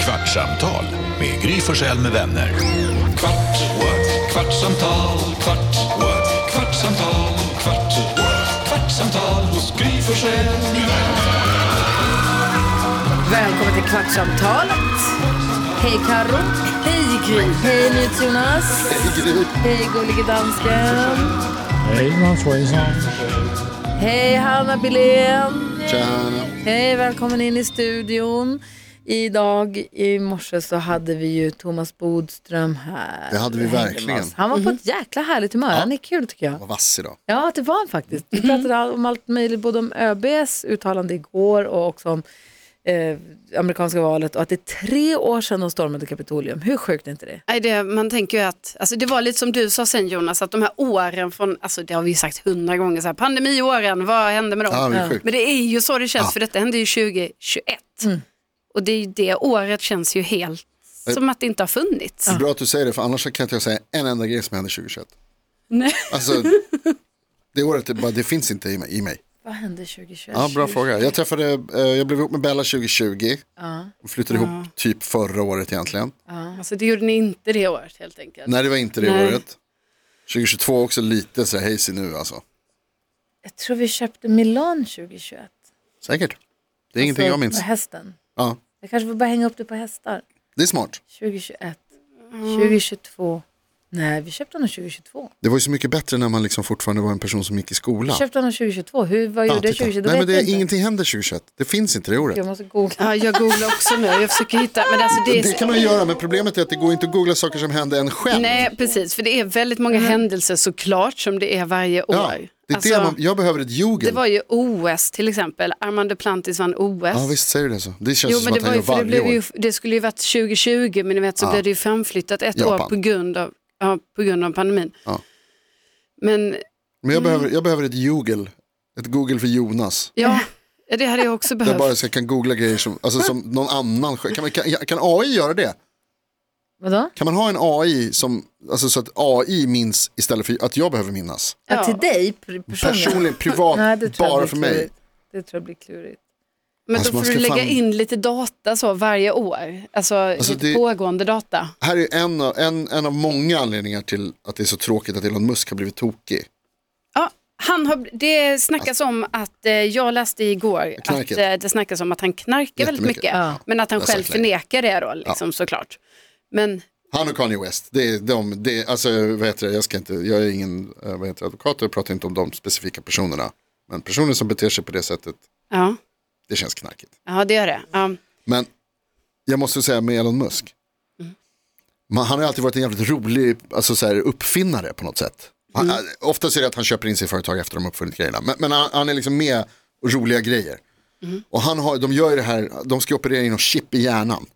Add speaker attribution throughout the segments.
Speaker 1: Kvartsamtal med Gry Forssell med vänner. Kvart, what? kvartsamtal, kvart, what? kvartsamtal, kvart, what? kvartsamtal hos Gry Forssell med vänner.
Speaker 2: Välkommen till Kvartsamtalet. Hej Karo. Hej Gry. Hej NyhetsJonas. Hej Gullige Dansken.
Speaker 3: Hej Jonas Svensson.
Speaker 2: Hej Hanna Billén. Hej, välkommen in i studion. Idag i morse så hade vi ju Thomas Bodström här.
Speaker 4: Det hade vi
Speaker 2: hängde med
Speaker 4: verkligen.
Speaker 2: oss. Han var på ett jäkla härligt humör. Han är kul tycker jag.
Speaker 4: Vad vass idag.
Speaker 2: Ja, det var han faktiskt. Vi pratade om allt möjligt, både om ÖBs uttalande igår och också om eh, amerikanska valet och att det är tre år sedan de stormade Kapitolium. Hur sjukt är inte det?
Speaker 5: Nej, det, man tänker ju att, alltså det var lite som du sa sen Jonas, att de här åren från, alltså det har vi ju sagt hundra gånger, så här, pandemiåren, vad hände med dem?
Speaker 4: Ja, det är sjukt.
Speaker 5: Men det är ju så det känns,
Speaker 4: Ja.
Speaker 5: för detta hände ju 2021. Och det, är ju det året känns ju helt
Speaker 4: Eh.
Speaker 5: som att det inte har funnits.
Speaker 4: Bra att du säger det, för annars så kan inte jag säga en enda grej som hände 2021.
Speaker 5: Nej.
Speaker 4: Alltså, det året, det, bara, det finns inte i mig. I mig.
Speaker 2: Vad hände 2021?
Speaker 4: Ja, bra fråga. Jag träffade, eh, jag blev ihop med Bella 2020. Och flyttade ihop typ förra året egentligen.
Speaker 5: Alltså det gjorde ni inte det året helt enkelt.
Speaker 4: Nej, det var inte det
Speaker 5: Nej.
Speaker 4: året. 2022 också lite så här hejsi nu alltså.
Speaker 2: Jag tror vi köpte Milan 2021.
Speaker 4: Säkert. Det är ingenting jag minns.
Speaker 2: Med hästen.
Speaker 4: Ja,
Speaker 2: Jag kanske får bara hänga upp det på hästar.
Speaker 4: det är smart.
Speaker 2: 2021, 2022. Nej, vi köpte honom 2022.
Speaker 4: Det var ju så mycket bättre när man liksom fortfarande var en person som gick i skolan.
Speaker 2: Köpte honom 2022. Hur, vad
Speaker 4: Ja,
Speaker 2: gjorde jag
Speaker 4: titta.
Speaker 2: 2022?
Speaker 4: Nej, men det
Speaker 2: jag
Speaker 4: är,
Speaker 2: inte.
Speaker 4: ingenting händer 2021. Det finns inte det året.
Speaker 2: Jag måste googla.
Speaker 5: Ja, jag googlar också nu, jag försöker hitta, men alltså det är
Speaker 4: Det kan man göra, men problemet är att det går inte att googla saker som hände en själv.
Speaker 5: Nej, precis, för det är väldigt många händelser såklart som det är varje år.
Speaker 4: ja, det är det
Speaker 5: Alltså,
Speaker 4: man, jag behöver ett jugend.
Speaker 5: det var ju OS till exempel, Armand Duplantis vann OS.
Speaker 4: Ja, visst säger du det så. Det känns
Speaker 5: Jo,
Speaker 4: Alltså, som
Speaker 5: men
Speaker 4: att
Speaker 5: det,
Speaker 4: han gör
Speaker 5: var ju, för det,
Speaker 4: varje
Speaker 5: blev
Speaker 4: år.
Speaker 5: ju, det skulle ju varit 2020, men ni vet så blev det ju framflyttat ett år
Speaker 4: Japan.
Speaker 5: på grund av, ja, på grund av pandemin.
Speaker 4: Ja.
Speaker 5: Men
Speaker 4: Men jag behöver,
Speaker 5: Mm.
Speaker 4: jag behöver ett jugel, ett google för Jonas.
Speaker 5: ja, det hade jag också
Speaker 4: Där
Speaker 5: behövt.
Speaker 4: bara så jag kan googla grejer som, alltså, som någon annan. själv- Kan, man, kan, kan AI göra det?
Speaker 2: Vadå?
Speaker 4: Kan man ha en AI som, alltså, så att AI minns istället för att jag behöver minnas?
Speaker 2: Ja.
Speaker 5: Ja.
Speaker 2: till dig per- personligen?
Speaker 4: Personligen, privat,
Speaker 2: Nej, det tror jag
Speaker 4: bara
Speaker 2: blir
Speaker 4: för mig.
Speaker 2: klurigt. Det tror jag blir klurigt.
Speaker 5: Men
Speaker 4: Alltså,
Speaker 5: då
Speaker 4: man
Speaker 5: får du
Speaker 4: ska
Speaker 5: lägga
Speaker 4: fan-
Speaker 5: in lite data så varje år, alltså, lite
Speaker 4: det-
Speaker 5: pågående data.
Speaker 4: Här är en av, en, en av många anledningar till att det är så tråkigt att Elon Musk har blivit tokig.
Speaker 5: Ja, han har, det snackas om att, eh, jag läste igår, att
Speaker 4: Knarket.
Speaker 5: eh, det snackas om att han knarkar väldigt
Speaker 4: Jättemycket.
Speaker 5: mycket,
Speaker 2: Ja.
Speaker 5: men att han
Speaker 4: Jag har
Speaker 5: själv
Speaker 4: sagt länge.
Speaker 5: förnekar det då, liksom, såklart. Men
Speaker 4: Han och Kanye West, det är de, det är, alltså vad heter det, jag ska inte, jag är ingen eh, vad heter det, advokat och jag pratar inte om de specifika personerna. Men personer som beter sig på det sättet,
Speaker 5: ja,
Speaker 4: det känns knarkigt.
Speaker 5: ja det gör det. Ja.
Speaker 4: Men jag måste säga med Elon Musk, man, han har alltid varit en jävligt rolig alltså, så här, uppfinnare på något sätt. Han, eh, Oftast är det att han köper in sig i företag efter de har uppfunnit grejerna. Men, men han, han är liksom med och roliga grejer. Och han har, de gör ju det här, de ska operera in något chip i hjärnan.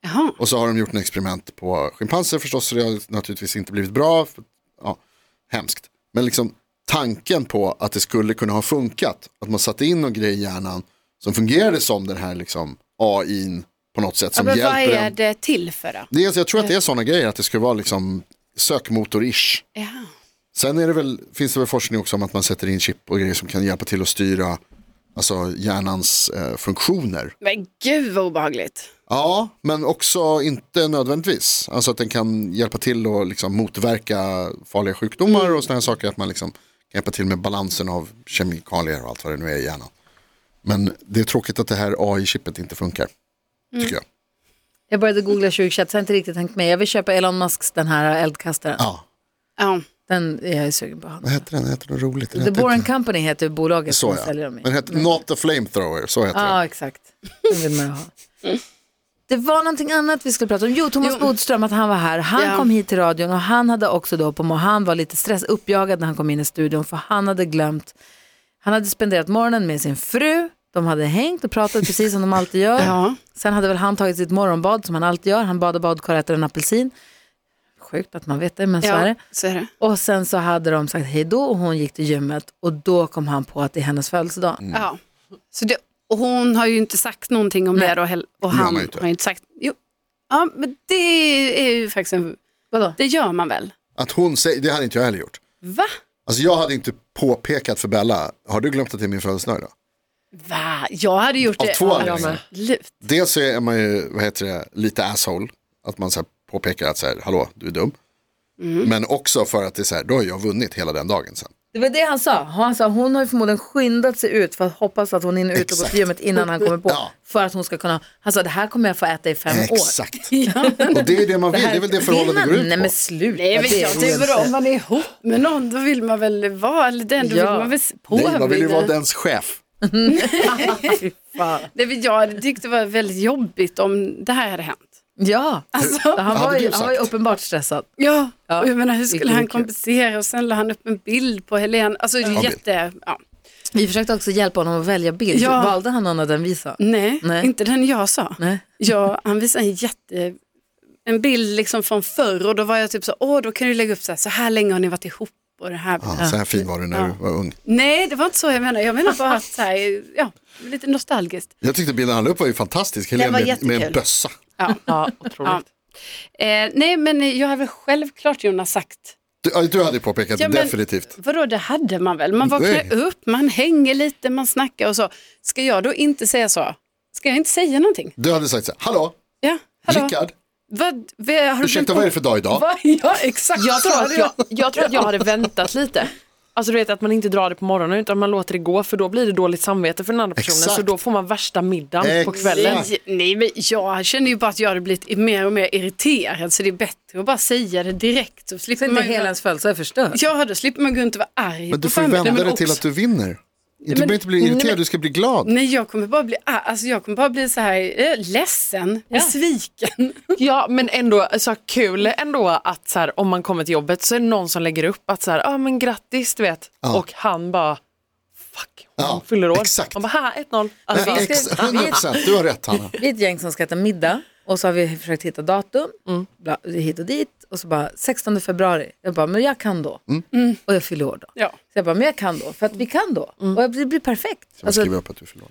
Speaker 5: Jaha.
Speaker 4: Och så har de gjort en experiment på schimpanser förstås, så det har naturligtvis inte blivit bra. För, ja, hemskt. Men liksom tanken på att det skulle kunna ha funkat, att man satte in någon grej i hjärnan som fungerade som den här liksom AIn på något sätt
Speaker 5: Ja,
Speaker 4: som
Speaker 5: men vad
Speaker 4: hjälper
Speaker 5: är
Speaker 4: en.
Speaker 5: det till för då?
Speaker 4: Det är, jag tror att det är sådana grejer, att det skulle vara liksom sökmotor-ish.
Speaker 5: Ja.
Speaker 4: Sen är det väl, finns det väl forskning också om att man sätter in chip och grejer som kan hjälpa till att styra alltså, hjärnans eh, funktioner.
Speaker 5: Men gud vad obehagligt.
Speaker 4: Ja, men också inte nödvändigtvis. Alltså att den kan hjälpa till att liksom motverka farliga sjukdomar och sådana här saker. Att man liksom kan hjälpa till med balansen av kemikalier och allt vad det nu är i hjärnan. Men det är tråkigt att det här AI-chippet inte funkar.
Speaker 2: Mm.
Speaker 4: Tycker jag.
Speaker 2: Jag började googla 2021, så jag har inte riktigt tänkt med. Jag vill köpa Elon Musks den här eldkastaren.
Speaker 4: Ja,
Speaker 5: Ja.
Speaker 2: Den är jag ju sugen på.
Speaker 4: vad heter den? Heter den roligt? Den
Speaker 2: The
Speaker 4: heter
Speaker 2: Boring
Speaker 4: inte-
Speaker 2: Company heter bolaget
Speaker 4: Så
Speaker 2: som säljer
Speaker 4: ja.
Speaker 2: dem i.
Speaker 4: Den heter Not the Flamethrower, så heter
Speaker 2: Ja, exakt. Den vill man ju ha. Det var någonting annat vi skulle prata om. Jo, Thomas Bodström, att han var här. Han
Speaker 5: Ja.
Speaker 2: kom hit till radion och han hade också då på morgonen, han var lite stress, uppjagad när han kom in i studion för han hade glömt, han hade spenderat morgonen med sin fru, de hade hängt och pratat precis som de alltid gör.
Speaker 5: Ja.
Speaker 2: Sen hade väl han tagit sitt morgonbad som han alltid gör, han badade badkar och äter en apelsin. Sjukt att man vet det, men så är det.
Speaker 5: ja, så är det.
Speaker 2: Och sen så hade de sagt hej då och hon gick till gymmet och då kom han på att det är hennes födelsedag.
Speaker 4: Mm.
Speaker 5: Ja. Så det, och hon har ju inte sagt någonting om det då, heller. och
Speaker 4: gör
Speaker 5: han
Speaker 4: man ju inte.
Speaker 5: har ju inte sagt. Jo. Ja, men det är ju faktiskt en,
Speaker 2: Vadå?
Speaker 5: Det gör man väl?
Speaker 4: den. Att hon säger, det hade inte jag heller gjort.
Speaker 5: Va?
Speaker 4: Alltså jag hade inte påpekat för Bella, har du glömt att det är min födelsedag idag?
Speaker 5: Va? Jag hade gjort
Speaker 4: Av
Speaker 5: det.
Speaker 4: två
Speaker 5: Ja,
Speaker 4: anledningar.
Speaker 5: Absolut.
Speaker 4: Dels så är man ju, vad heter det, lite asshole. Att man så här påpekar att så här, hallå, du är dum.
Speaker 5: Mm.
Speaker 4: Men också för att det är så här, då har jag vunnit hela den dagen sen.
Speaker 2: Det var det han sa. Han sa hon har ju förmodligen skyndat sig ut för att hoppas att hon hinner ut på
Speaker 4: Exakt.
Speaker 2: gymmet innan han kommer på.
Speaker 4: Ja.
Speaker 2: För att hon ska kunna, han sa det här kommer jag få äta i fem år.
Speaker 4: Exakt. Och det är det man vill, det är väl det förhållandet går
Speaker 2: Vill man-
Speaker 4: ut
Speaker 2: Nej
Speaker 4: på.
Speaker 2: men sluta.
Speaker 5: Nej, men
Speaker 2: det
Speaker 5: jag
Speaker 2: går
Speaker 5: tycker
Speaker 2: inte.
Speaker 5: väl om man är ihop med någon, då vill man väl vara, eller den, då
Speaker 2: Ja.
Speaker 5: vill man väl se på
Speaker 4: Nej, man vill ju
Speaker 5: henne.
Speaker 4: vara dens chef.
Speaker 2: Fy fan.
Speaker 5: Det vill jag tyckte det var väldigt jobbigt om det här hade hänt.
Speaker 2: Ja,
Speaker 5: Alltså,
Speaker 2: han var,
Speaker 4: hade
Speaker 2: ju,
Speaker 4: du
Speaker 2: han var ju
Speaker 4: sagt?
Speaker 2: uppenbart stressad.
Speaker 5: ja,
Speaker 2: Ja,
Speaker 5: och jag menar hur
Speaker 2: det
Speaker 5: skulle
Speaker 2: kunde
Speaker 5: han
Speaker 2: bli kul.
Speaker 5: kompensera och sen la han upp en bild på Helene. Alltså det är
Speaker 4: Ja.
Speaker 5: jätte, ja.
Speaker 2: Vi försökte också hjälpa honom att välja bild.
Speaker 5: Ja.
Speaker 2: Valde han någon av den vi sa?
Speaker 5: Nej,
Speaker 2: Nej.
Speaker 5: inte den jag sa.
Speaker 2: Nej.
Speaker 5: Ja, han visade en jätte, en bild liksom från förr och då var jag typ så, åh då kan du lägga upp så här, så här länge har ni varit ihop och det här.
Speaker 4: Ja, Ah, så här fin var du när du var ung.
Speaker 5: Nej, det var inte så jag menar. Jag menar bara att så här, ja, lite nostalgiskt.
Speaker 4: Jag tyckte bilden han la upp var ju fantastisk. Helene
Speaker 5: var
Speaker 4: med, med en
Speaker 5: jättekul.
Speaker 4: bössa.
Speaker 5: Ja.
Speaker 2: Ja, otroligt.
Speaker 5: Eh, nej, men jag har väl självklart Jonas sagt,
Speaker 4: Du, ja, du hade ju påpekat
Speaker 5: Ja,
Speaker 4: det
Speaker 5: men-
Speaker 4: definitivt.
Speaker 5: vadå det hade man väl? Man
Speaker 4: Nej.
Speaker 5: vaknar upp, man hänger lite, man snackar och så. Ska jag då inte säga så? Ska jag inte säga någonting?
Speaker 4: Du hade sagt så här, hallå,
Speaker 5: Ja, hallå?
Speaker 4: Rickard,
Speaker 5: Vad, vad, har du
Speaker 4: ursäkta
Speaker 5: glömt
Speaker 4: vad är det
Speaker 5: bort-
Speaker 4: för dag idag?
Speaker 5: Vad? Ja, exakt.
Speaker 6: Jag
Speaker 5: så
Speaker 6: tror,
Speaker 5: hade
Speaker 6: att jag, jag tror att jag hade väntat lite. Alltså du vet att man inte drar det på morgonen utan man låter det gå för då blir det dåligt samvete för den andra personen
Speaker 4: Exakt.
Speaker 6: så då får man värsta middagen på
Speaker 4: Exakt.
Speaker 6: kvällen.
Speaker 5: Nej, nej, men jag känner ju bara att jag hade blivit mer och mer irriterad så det är bättre att bara säga det direkt. Så
Speaker 2: Så
Speaker 5: slipper
Speaker 2: inte
Speaker 5: man ju
Speaker 2: hela ens födelsedag är förstörd.
Speaker 5: Ja, då slipper man gå runt och vara arg
Speaker 4: Men du
Speaker 5: på
Speaker 4: får ju
Speaker 5: familjen,
Speaker 4: vända
Speaker 5: men
Speaker 4: det till
Speaker 5: också-
Speaker 4: att du vinner. Du behöver inte bli irriterad, du ska bli glad.
Speaker 5: Nej, jag kommer bara bli, ar- alltså, jag kommer bara bli så här eh, ledsen, besviken.
Speaker 6: Ja men ändå så kul ändå att så här, om man kommer till jobbet så är det någon som lägger upp att så här, ah, men grattis du vet
Speaker 4: Ja.
Speaker 6: och han bara fuck hon
Speaker 4: Ja,
Speaker 6: fyller år.
Speaker 4: exakt.
Speaker 6: Man bara här 1-0.
Speaker 4: Nej,
Speaker 6: Alltså,
Speaker 4: ex- 100%, du har rätt Hanna.
Speaker 2: Vi är ett gäng som ska äta middag och så har vi försökt hitta datum
Speaker 5: Mm.
Speaker 2: bla, hit och dit och så bara 16 februari. Jag bara, men jag kan då.
Speaker 5: Mm.
Speaker 2: Och jag fyller år då.
Speaker 5: Ja.
Speaker 2: Så jag bara, men jag kan då, för att vi kan då.
Speaker 5: Mm.
Speaker 2: Och det blir perfekt.
Speaker 4: Alltså,
Speaker 2: Alltså,
Speaker 4: skriver upp att du förlorar.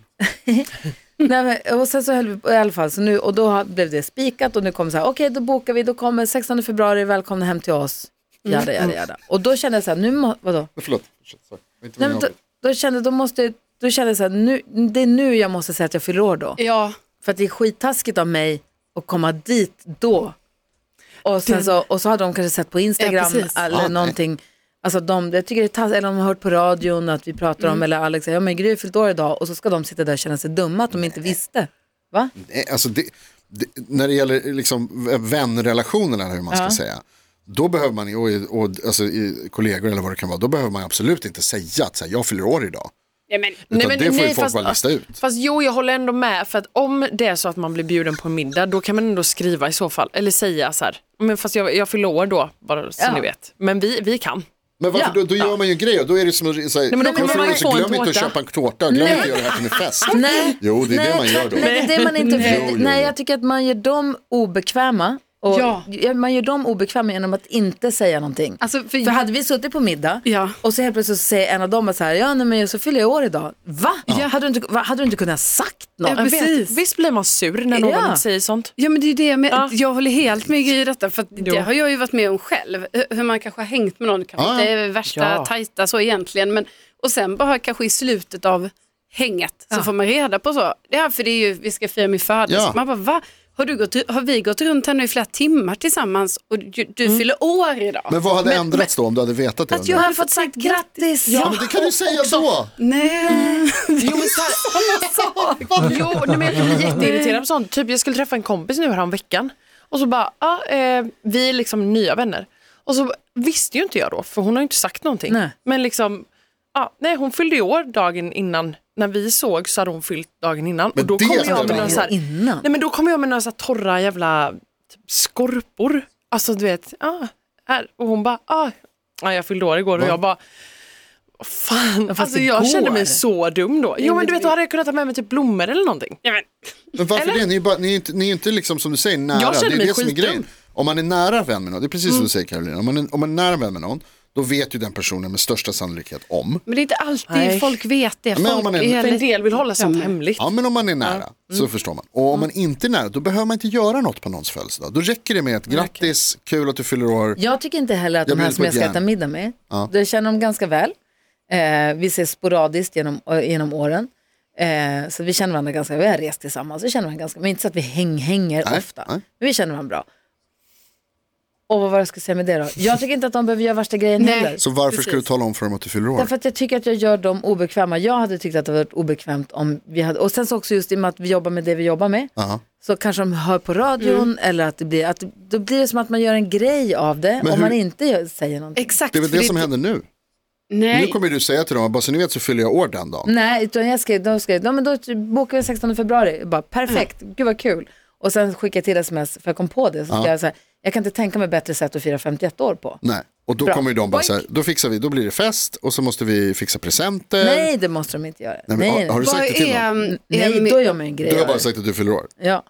Speaker 2: nej, men, och sen så höll vi på i alla fall, så nu, och då har- blev det spikat och nu kom så här, okej då bokar vi, då kommer 16 februari, välkomna hem till oss.
Speaker 5: Mm.
Speaker 2: Jada, jada, jada. Och då kände jag så här, nu må, vadå?
Speaker 4: Förlåt, Fortsätt, sorry. Det var inte
Speaker 2: Nej,
Speaker 4: min
Speaker 2: men då,
Speaker 4: avsikt.
Speaker 2: då kände då måste jag, då kände jag så här, nu, det är nu jag måste säga att jag fyller år då.
Speaker 5: Ja,
Speaker 2: För att det är skittaskigt av mig att komma dit då. Och, sen så, och så har de kanske sett på
Speaker 5: Ja,
Speaker 2: Instagram
Speaker 5: precis.
Speaker 2: eller
Speaker 4: Ja, nej.
Speaker 2: någonting. Alltså de, jag tycker det är taskigt, eller de har hört på radion att vi pratar
Speaker 5: Mm.
Speaker 2: om, eller Alex säger, ja men Gry har fyllt år idag och så ska de sitta där och känna sig dumma att de inte visste. Va?
Speaker 4: Nej, alltså det, det, när det gäller liksom v- vänrelationen eller hur man ska säga. Då behöver man, och, och, alltså, i kollegor eller vad det kan vara, då behöver man absolut inte säga att så här, jag fyller år idag.
Speaker 5: ja men,
Speaker 4: Utan det får ju folk
Speaker 6: fast-
Speaker 4: bara lista ut.
Speaker 6: Fast jo, jag håller ändå med. För att om det är så att man blir bjuden på en middag, då kan man ändå skriva i så fall. Eller säga så här, men fast jag, jag fyller år då, bara så
Speaker 2: Ja.
Speaker 6: ni vet. Men vi, vi kan.
Speaker 4: Men varför,
Speaker 2: Ja.
Speaker 4: då, då gör man ju en grej och då är det som att säga,
Speaker 6: men då
Speaker 4: jag
Speaker 6: kommer
Speaker 4: fyller
Speaker 6: man
Speaker 4: år, så
Speaker 6: få en
Speaker 4: glöm inte att
Speaker 6: tårta.
Speaker 4: köpa en tårta och glöm inte att göra det här till en fest.
Speaker 2: Nej.
Speaker 4: Jo, det är det man gör då.
Speaker 2: Nej, det är det man inte
Speaker 4: Nej. Jo, jo,
Speaker 2: vill.
Speaker 4: jo.
Speaker 2: Nej, jag tycker att man gör dem obekväma. Och
Speaker 5: Ja.
Speaker 2: ja. Man gör dem obekväma genom att inte säga någonting.
Speaker 5: alltså, för,
Speaker 2: För hade vi suttit på middag
Speaker 5: Ja.
Speaker 2: och så helt plötsligt så säger en av dem att så här, ja nej, men jag så fyller jag år idag. Va? Hade, du inte, va? hade du inte kunnat sagt något?
Speaker 5: Ja,
Speaker 6: Men vet,
Speaker 5: Precis.
Speaker 6: visst blir man sur när någon
Speaker 2: Ja.
Speaker 6: säger sånt?
Speaker 5: Ja men det är ju det med,
Speaker 6: Ja.
Speaker 5: jag håller helt med Gry i detta för att det
Speaker 6: Jo.
Speaker 5: har jag ju varit med om själv. Hur- Hur man kanske har hängt med någon, kanske
Speaker 4: Ja,
Speaker 5: inte är värsta
Speaker 6: Ja.
Speaker 5: tajta så egentligen. Men, och sen bara kanske i slutet av hänget så får man reda på så. Ja för det är ju, vi ska fira min födelsedag.
Speaker 4: Ja.
Speaker 5: Man bara va? Har, du gått, har vi gått runt här nu i flera timmar tillsammans och du, du
Speaker 6: Mm.
Speaker 5: fyller år idag?
Speaker 4: Men vad hade ändrats då om du hade vetat det?
Speaker 2: Att jag hade fått sagt grattis.
Speaker 4: ja, men det kan du säga då.
Speaker 5: Nej.
Speaker 6: Jo, men så här, jo nej, men jag kan bli jätteirriterad på sånt. Typ, jag skulle träffa en kompis nu häromveckan och så bara, ah, eh, vi är liksom nya vänner. Och så visste ju inte jag då, för hon har ju inte sagt någonting.
Speaker 2: Nej.
Speaker 6: Men liksom, ah, nej hon fyllde ju år dagen innan. När vi såg så hade hon fyllt dagen innan.
Speaker 4: Men alltså,
Speaker 6: och då
Speaker 4: det
Speaker 6: kom
Speaker 4: hade
Speaker 6: jag med
Speaker 4: man
Speaker 6: några
Speaker 4: ju.
Speaker 6: så här,
Speaker 2: Innan.
Speaker 6: Nej men då kommer jag med några så här torra jävla typ, skorpor. Alltså du vet, ah, här. Och hon bara, ah, ja, jag fyllde år igår och jag bara, "Vad fan.
Speaker 2: fast
Speaker 6: Alltså jag
Speaker 2: igår.
Speaker 6: kände mig så dum då. Jo men du vet, då hade jag kunnat ta med mig typ blommor eller någonting.
Speaker 5: Ja, men,
Speaker 4: Men varför
Speaker 6: Eller?
Speaker 4: det? Ni är, ju bara, ni är, inte, ni är inte liksom som du säger nära.
Speaker 6: Jag känner
Speaker 4: det är
Speaker 6: mig
Speaker 4: det som är
Speaker 6: skitdum.
Speaker 4: grejen. Om man är nära vän med någon, det är precis som du säger Karolina, om man, är, om man är nära vän med någon, då vet ju den personen med största sannolikhet om.
Speaker 5: men det är inte alltid
Speaker 6: Nej.
Speaker 5: folk vet det.
Speaker 4: Men om
Speaker 5: Folk
Speaker 4: man är-
Speaker 6: För en
Speaker 5: lite-
Speaker 6: del vill hålla sånt
Speaker 5: Ja.
Speaker 6: hemligt.
Speaker 4: Ja, men om man är nära så förstår man. Och om man inte är nära, då behöver man inte göra något på någons födelsedag. Då räcker det med ett grattis, kul att du fyller år.
Speaker 2: Jag tycker inte heller att
Speaker 4: Jag
Speaker 2: de här
Speaker 4: blir
Speaker 2: som jag ska
Speaker 4: lite
Speaker 2: äta
Speaker 4: gärna.
Speaker 2: middag med, jag känner dem ganska väl. Eh, vi ses sporadiskt genom, eh, genom åren. Eh, så vi känner varandra ganska, vi har rest tillsammans, vi känner varandra ganska, men inte så att vi häng-hänger
Speaker 4: Nej,
Speaker 2: ofta.
Speaker 4: nej.
Speaker 2: Men vi känner varandra bra. Och vad var det jag skulle säga med det då? Jag tycker inte att de behöver göra värsta grejen
Speaker 5: Nej.
Speaker 2: heller.
Speaker 4: Så varför ska du tala om för dem att du fyller år?
Speaker 2: Därför att jag tycker att jag gör dem obekväma. Jag hade tyckt att det varit obekvämt om vi hade, och sen så också just i och med att vi jobbar med det vi jobbar med,
Speaker 4: Ja.
Speaker 2: så kanske de hör på radion
Speaker 4: Mm.
Speaker 2: eller att det blir, att, då blir det som att man gör en grej av det
Speaker 4: Men
Speaker 2: om
Speaker 4: hur-
Speaker 2: man inte gör, säger någonting.
Speaker 5: Exakt.
Speaker 4: Det är väl
Speaker 5: för
Speaker 4: det som händer nu.
Speaker 5: Nej.
Speaker 4: Nu kommer du säga till dem, bara så ni vet så fyller jag år den dagen.
Speaker 2: Nej, utan jag skrev, de skrev, ja men då bokar vi 16 februari. Jag bara, perfekt,
Speaker 4: Mm.
Speaker 2: gud vad kul. Och sen skickade jag till sms för jag kom på det. Så skrev jag så här, jag kan inte tänka mig bättre sätt att fira 51 år på.
Speaker 4: Nej. Och då
Speaker 2: Bra.
Speaker 4: kommer ju de bara
Speaker 2: Boink.
Speaker 4: så här, då fixar vi, då blir det fest och så måste vi fixa presenter.
Speaker 2: Nej, det måste de inte göra.
Speaker 4: Nej, men,
Speaker 2: nej,
Speaker 4: har, har du
Speaker 5: Vad
Speaker 4: sagt det till
Speaker 5: är, um,
Speaker 4: dem?
Speaker 5: är,
Speaker 2: nej då gör man en grej
Speaker 4: Du har
Speaker 2: av
Speaker 4: bara
Speaker 2: det.
Speaker 4: sagt att du fyller år.
Speaker 2: Ja.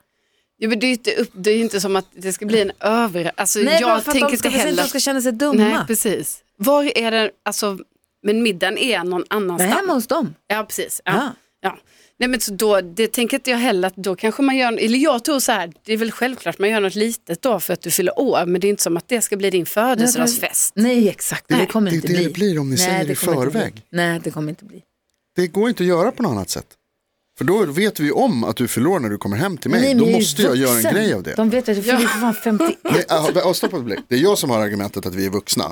Speaker 5: Ja, men det är ju inte, upp, det är ju inte som att det ska bli en över... Alltså,
Speaker 2: Nej,
Speaker 5: jag
Speaker 2: bara för att
Speaker 5: tänker
Speaker 2: de ska,
Speaker 5: inte
Speaker 2: för att
Speaker 5: heller...
Speaker 2: de ska känna sig dumma.
Speaker 5: Nej, precis. Var är det, alltså, men middagen är någon
Speaker 2: det är
Speaker 5: annanstans.
Speaker 2: hemma hos dem.
Speaker 5: Ja, precis. Ja.
Speaker 2: Ja.
Speaker 5: Ja. Nej, men så då, det tänker inte jag heller att då kanske man gör, eller jag tror så här, det är väl självklart man gör något litet då för att du fyller år, men det är inte som att det ska bli din födelsedagsfest.
Speaker 2: Nej, exakt. Det,
Speaker 5: Nej,
Speaker 2: kommer
Speaker 4: det är
Speaker 2: inte
Speaker 4: det
Speaker 2: bli.
Speaker 4: det blir om ni säger det i
Speaker 2: kommer inte
Speaker 4: förväg.
Speaker 2: bli. Nej, det kommer inte bli.
Speaker 4: Det går inte att göra på något annat sätt. För då vet vi ju om att du fyller år när du kommer hem till mig.
Speaker 2: Nej, men
Speaker 4: då
Speaker 2: jag är ju
Speaker 4: måste jag göra en
Speaker 2: vuxen.
Speaker 4: grej av det.
Speaker 2: De vet att du fyller för fan 51.
Speaker 4: Nej, aha, vä- stopp ett ögonblick. Det är jag som har argumentet att vi är vuxna.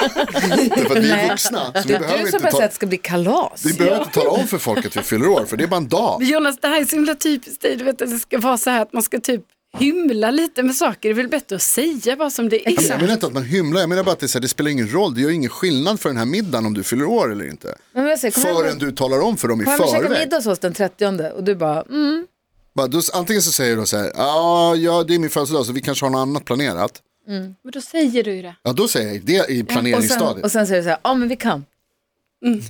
Speaker 4: Därför att vi är vuxna. Så vi behöver,
Speaker 2: Du som
Speaker 4: inte
Speaker 2: bara säger
Speaker 4: ta,
Speaker 2: att det ska bli kalas.
Speaker 4: vi behöver inte tala om för folk att vi fyller år, för det är bara en dag.
Speaker 5: Men Jonas, det här är så himla typiskt dig, du vet att det ska vara så här att man ska typ hymla lite med saker, det är väl bättre att säga bara som det är.
Speaker 4: Jag menar inte att man hymlar, jag menar bara att det, är så här, det spelar ingen roll, det gör ingen skillnad för den här middagen om du fyller år eller inte.
Speaker 2: Men jag säger, kom hem och-
Speaker 4: Förrän du talar om för dem i
Speaker 2: Kom hem och käka
Speaker 4: förväg.
Speaker 2: middag hos oss den 30 och du bara, mm.
Speaker 4: Bara, då, antingen så säger du så här, "Ja, ja det är min födelsedag så vi kanske har något annat planerat.
Speaker 5: Men då säger du ju det.
Speaker 4: Ja då säger jag det i
Speaker 2: Och sen,
Speaker 4: planeringsstadiet.
Speaker 2: och sen säger du så här, ja men vi kan.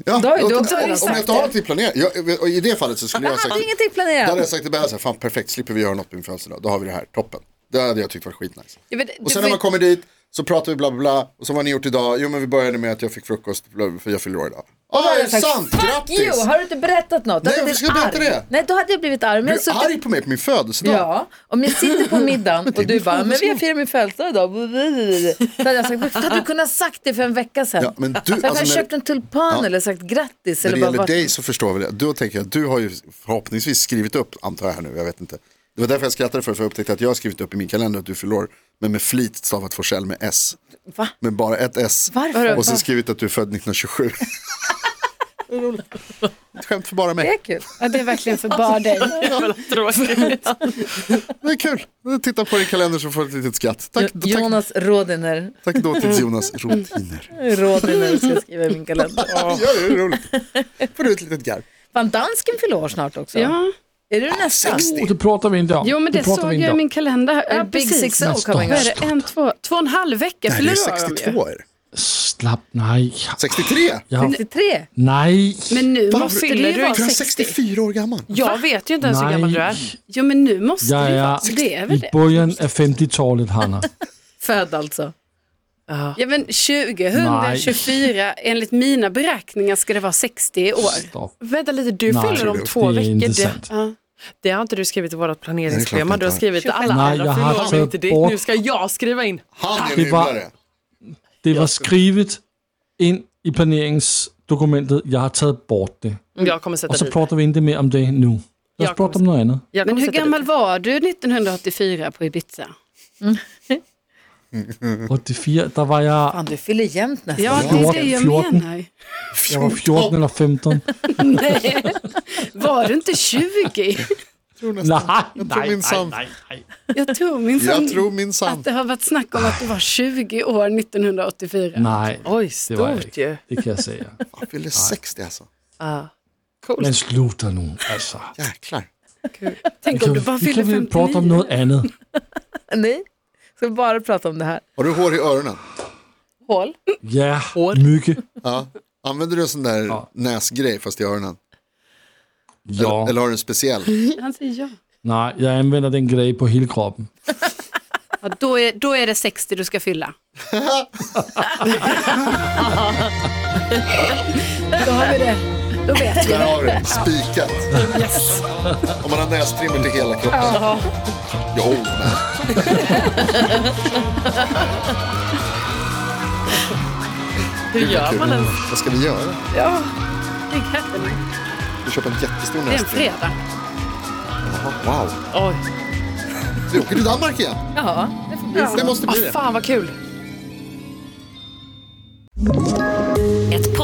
Speaker 4: Ja,
Speaker 2: Då har ju
Speaker 4: och-
Speaker 2: du
Speaker 4: om,
Speaker 2: också
Speaker 4: om
Speaker 2: sagt
Speaker 4: jag inte har någonting planerat, jag, och i det fallet så skulle jag ha sagt,
Speaker 2: Ah, ingenting
Speaker 4: då hade jag
Speaker 2: planerat.
Speaker 4: sagt till Bella så här, fan perfekt, slipper vi göra något på min födelsedag, då har vi det här, toppen. Det hade jag tyckt var skitnice.
Speaker 5: Ja, men det-
Speaker 4: Och sen
Speaker 5: det-
Speaker 4: när man kommer dit så pratar vi bla bla bla, och så vad har ni gjort idag? Jo men vi började med att jag fick frukost, bla, för jag fyller år idag. Ja,
Speaker 2: Då hade
Speaker 4: det
Speaker 2: jag
Speaker 4: är
Speaker 2: sagt,
Speaker 4: sant,
Speaker 2: Fuck you,
Speaker 4: grattis!
Speaker 2: har du inte berättat något? Då
Speaker 4: Nej,
Speaker 2: hade
Speaker 4: varför
Speaker 2: jag
Speaker 4: ska jag
Speaker 2: blivit
Speaker 4: berättat
Speaker 2: arg.
Speaker 4: det?
Speaker 2: Nej, då hade jag blivit arg. Men
Speaker 4: Du
Speaker 2: jag
Speaker 4: är
Speaker 2: suttit-
Speaker 4: arg på mig på min födelsedag.
Speaker 2: Ja, om jag sitter på middagen och du bara, men vi har firat min födelsedag idag. Då hade jag sagt, varför hade du kunnat sagt det för en vecka sedan?
Speaker 4: Ja, men du,
Speaker 2: så jag
Speaker 4: alltså,
Speaker 2: hade
Speaker 4: när-
Speaker 2: köpt en tulpan
Speaker 4: Ja.
Speaker 2: eller sagt grattis.
Speaker 4: När
Speaker 2: Eller
Speaker 4: det
Speaker 2: bara,
Speaker 4: gäller
Speaker 2: "Vart-"
Speaker 4: dig så förstår vi det. Då tänker jag, du har ju förhoppningsvis skrivit upp, antar jag här nu, jag vet inte. Det var därför jag skrattade för, för jag upptäckte att jag har skrivit upp i min kalender att du fyller år, men med flit stavat Forsell med S.
Speaker 2: Va?
Speaker 4: Med bara ett S.
Speaker 2: Varför?
Speaker 4: Och så skrivit att du är född 1927. Vad roligt. Ett skämt för bara
Speaker 2: Det är
Speaker 4: mig.
Speaker 2: kul.
Speaker 5: Ja, det är verkligen för bara dig.
Speaker 4: Det är kul. Titta på din kalender så får du ett litet skratt. Tack, tack,
Speaker 2: Jonas Rodiner.
Speaker 4: tack då till Jonas Rotiner.
Speaker 2: Rodiner ska jag skriva i min kalender.
Speaker 4: Ja, det är roligt. Får du ett litet garv.
Speaker 2: Fan, dansken fyller år snart också.
Speaker 5: Ja,
Speaker 2: Är du nästa?
Speaker 4: 60.
Speaker 3: Och det pratar vi inte om.
Speaker 5: jo men det
Speaker 3: pratar
Speaker 5: såg
Speaker 3: vi inte
Speaker 5: jag i
Speaker 3: om.
Speaker 5: min kalender. här. Ja,
Speaker 2: Big
Speaker 5: precis.
Speaker 2: Six O coming
Speaker 5: Vad
Speaker 2: up.
Speaker 5: är det? En, två, två och en halv vecka
Speaker 4: Nej, det är
Speaker 5: fyller de ju.
Speaker 4: 62 är det.
Speaker 3: Slapp, nej.
Speaker 4: 63?
Speaker 3: Jag,
Speaker 2: 63?
Speaker 3: nej.
Speaker 5: Men nu
Speaker 4: Fan,
Speaker 5: måste
Speaker 6: fyller
Speaker 5: det
Speaker 6: du
Speaker 5: ju vara
Speaker 4: Jag är
Speaker 5: 60.
Speaker 4: 64 år gammal.
Speaker 6: Jag vet ju inte ens hur gammal du är.
Speaker 3: Nej.
Speaker 5: Jo men nu måste
Speaker 3: Ja,
Speaker 5: det ju
Speaker 3: ja.
Speaker 5: vara, det är väl
Speaker 3: I
Speaker 5: det.
Speaker 3: början av 50-talet, Hanna.
Speaker 2: Född alltså.
Speaker 5: Ja men 2024,
Speaker 3: Nej.
Speaker 5: enligt mina beräkningar ska det vara 60 i år.
Speaker 3: Stopp.
Speaker 6: Vänta lite, du
Speaker 3: Nej,
Speaker 6: fyller om
Speaker 4: det
Speaker 6: två
Speaker 3: Det är
Speaker 6: veckor.
Speaker 3: inte
Speaker 6: Det,
Speaker 3: sant.
Speaker 6: det har inte du skrivit i vårt
Speaker 4: Nej, det är
Speaker 6: planeringsschema.
Speaker 4: klart
Speaker 6: Du har
Speaker 4: inte.
Speaker 6: skrivit alla
Speaker 3: Nej, jag
Speaker 6: andra
Speaker 3: har
Speaker 6: fyller år, men
Speaker 3: tagit
Speaker 6: inte ditt.
Speaker 3: bort-
Speaker 6: Nu ska jag skriva in.
Speaker 4: Han är
Speaker 3: Det var-
Speaker 4: nybörjare.
Speaker 3: Det var skrivet in i planeringsdokumentet. Jag har tagit bort det.
Speaker 6: Jag kommer sätta
Speaker 3: Och så
Speaker 6: dit.
Speaker 3: pratar vi inte mer om det nu. Låt oss
Speaker 6: Jag kommer
Speaker 3: prata om något annat.
Speaker 6: Jag
Speaker 5: Men
Speaker 6: kommer
Speaker 5: hur
Speaker 6: sätta dit.
Speaker 5: gammal var du 1984 på Ibiza?
Speaker 3: 84, där var jag,
Speaker 2: Fan, du fyller jämt nästan.
Speaker 5: Ja, det är det jag
Speaker 3: 14.
Speaker 5: menar.
Speaker 3: jag var 14 eller 15.
Speaker 5: Nej. Var du inte 20?
Speaker 3: Nej,
Speaker 4: tror
Speaker 3: nej, nej,
Speaker 4: minsann.
Speaker 3: nej, nej.
Speaker 5: Jag tror minsann
Speaker 4: Jag tror minsann.
Speaker 5: att det har varit snack om att du var 20 år 1984.
Speaker 3: Nej,
Speaker 6: Oj,
Speaker 3: det var jag
Speaker 6: stort ju.
Speaker 3: inte. Det kan jag säga.
Speaker 4: Han fyller 60 alltså.
Speaker 6: Ah.
Speaker 3: Men sluta nu, alltså.
Speaker 4: Jäklar.
Speaker 5: Tänk om du bara
Speaker 3: Vi
Speaker 5: fyller
Speaker 3: kan väl prata om
Speaker 5: 59.
Speaker 3: något annat.
Speaker 2: Nej, ska bara prata om det här.
Speaker 4: Har du hår i öronen?
Speaker 2: Hål.
Speaker 3: Ja, mycket.
Speaker 4: Ja. Använder du en sån där
Speaker 3: Ja.
Speaker 4: näsgrej fast i öronen?
Speaker 3: Ja.
Speaker 4: Eller, eller har du en speciell?
Speaker 5: Han säger ja.
Speaker 3: Nej, jag använder den grejen på hela kroppen.
Speaker 5: ja då, är, då är det 60 du ska fylla. då har vi det. Då vet vi.
Speaker 4: Där har du det. Spikat. Om man har nästrimmel till hela kroppen. Jo, men.
Speaker 6: Hur
Speaker 4: Vad
Speaker 6: gör
Speaker 4: kul.
Speaker 6: man ens?
Speaker 4: Vad ska vi göra?
Speaker 5: Det kan-
Speaker 4: Vi köpa en jättestor
Speaker 5: Det är en
Speaker 4: näsduk.
Speaker 5: fredag.
Speaker 4: Wow.
Speaker 6: Oj.
Speaker 4: Vi åker till Danmark igen.
Speaker 2: Ja, det får bli så.
Speaker 4: Det måste
Speaker 6: Ah,
Speaker 4: bli det.
Speaker 6: fan vad kul.
Speaker 7: Ett